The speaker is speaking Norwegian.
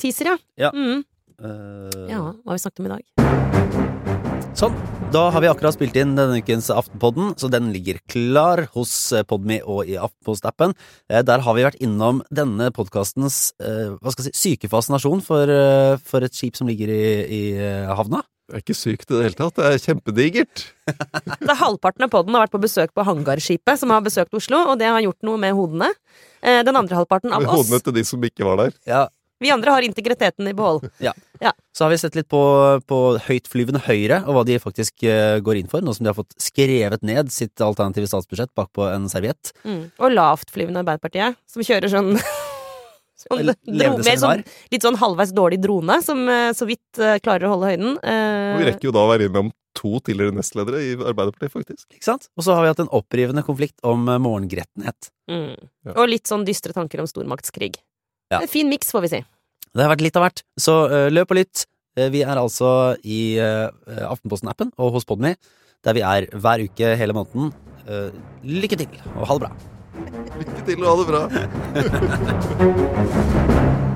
Teaser, ja. Ja. Mm. Eh, ja. Hva har vi snakket om i dag? Sånn. Da har vi akkurat spilt inn denne ukens Aftenpodden, så den ligger klar hos eh, Podme og i Aftenpost-appen. Eh, Der har vi vært innom denne podkastens hva skal jeg si, syke fascinasjon for, eh, for et skip som ligger i, i eh, havna. Det er ikke sykt i det hele tatt. Det er kjempedigert. Det er Halvparten av podden har vært på besøk på hangarskipet som har besøkt Oslo, og det har gjort noe med hodene. Eh, Den andre halvparten av Med oss. hodene til de som ikke var der. Ja, Vi andre har integriteten i behold. Så har vi sett litt på, på høytflyvende Høyre, og hva de faktisk eh, går inn for, nå som de har fått skrevet ned sitt alternative statsbudsjett bakpå en serviett. Mm. Og lavtflyvende Arbeiderpartiet, som kjører sånn, sånn, Eller dro, levende mer sånn seminar. Litt sånn halvveis dårlig drone, som eh, så vidt eh, klarer å holde høyden. Og vi Eh, rekker jo da å være innom to tidligere nestledere i Arbeiderpartiet, faktisk. Ikke sant? Og så har vi hatt en opprivende konflikt om eh, morgengrettenhet. mm. Ja. Og litt sånn dystre tanker om stormaktskrig. Ja. En fin miks, får vi si. Det har vært litt av hvert, så eh, løp og lytt. Eh, Vi er altså i eh, Aftenposten-appen og hos Podme, der vi er hver uke hele måneden. Eh, Lykke til, og ha det bra. Lykke til og ha det bra.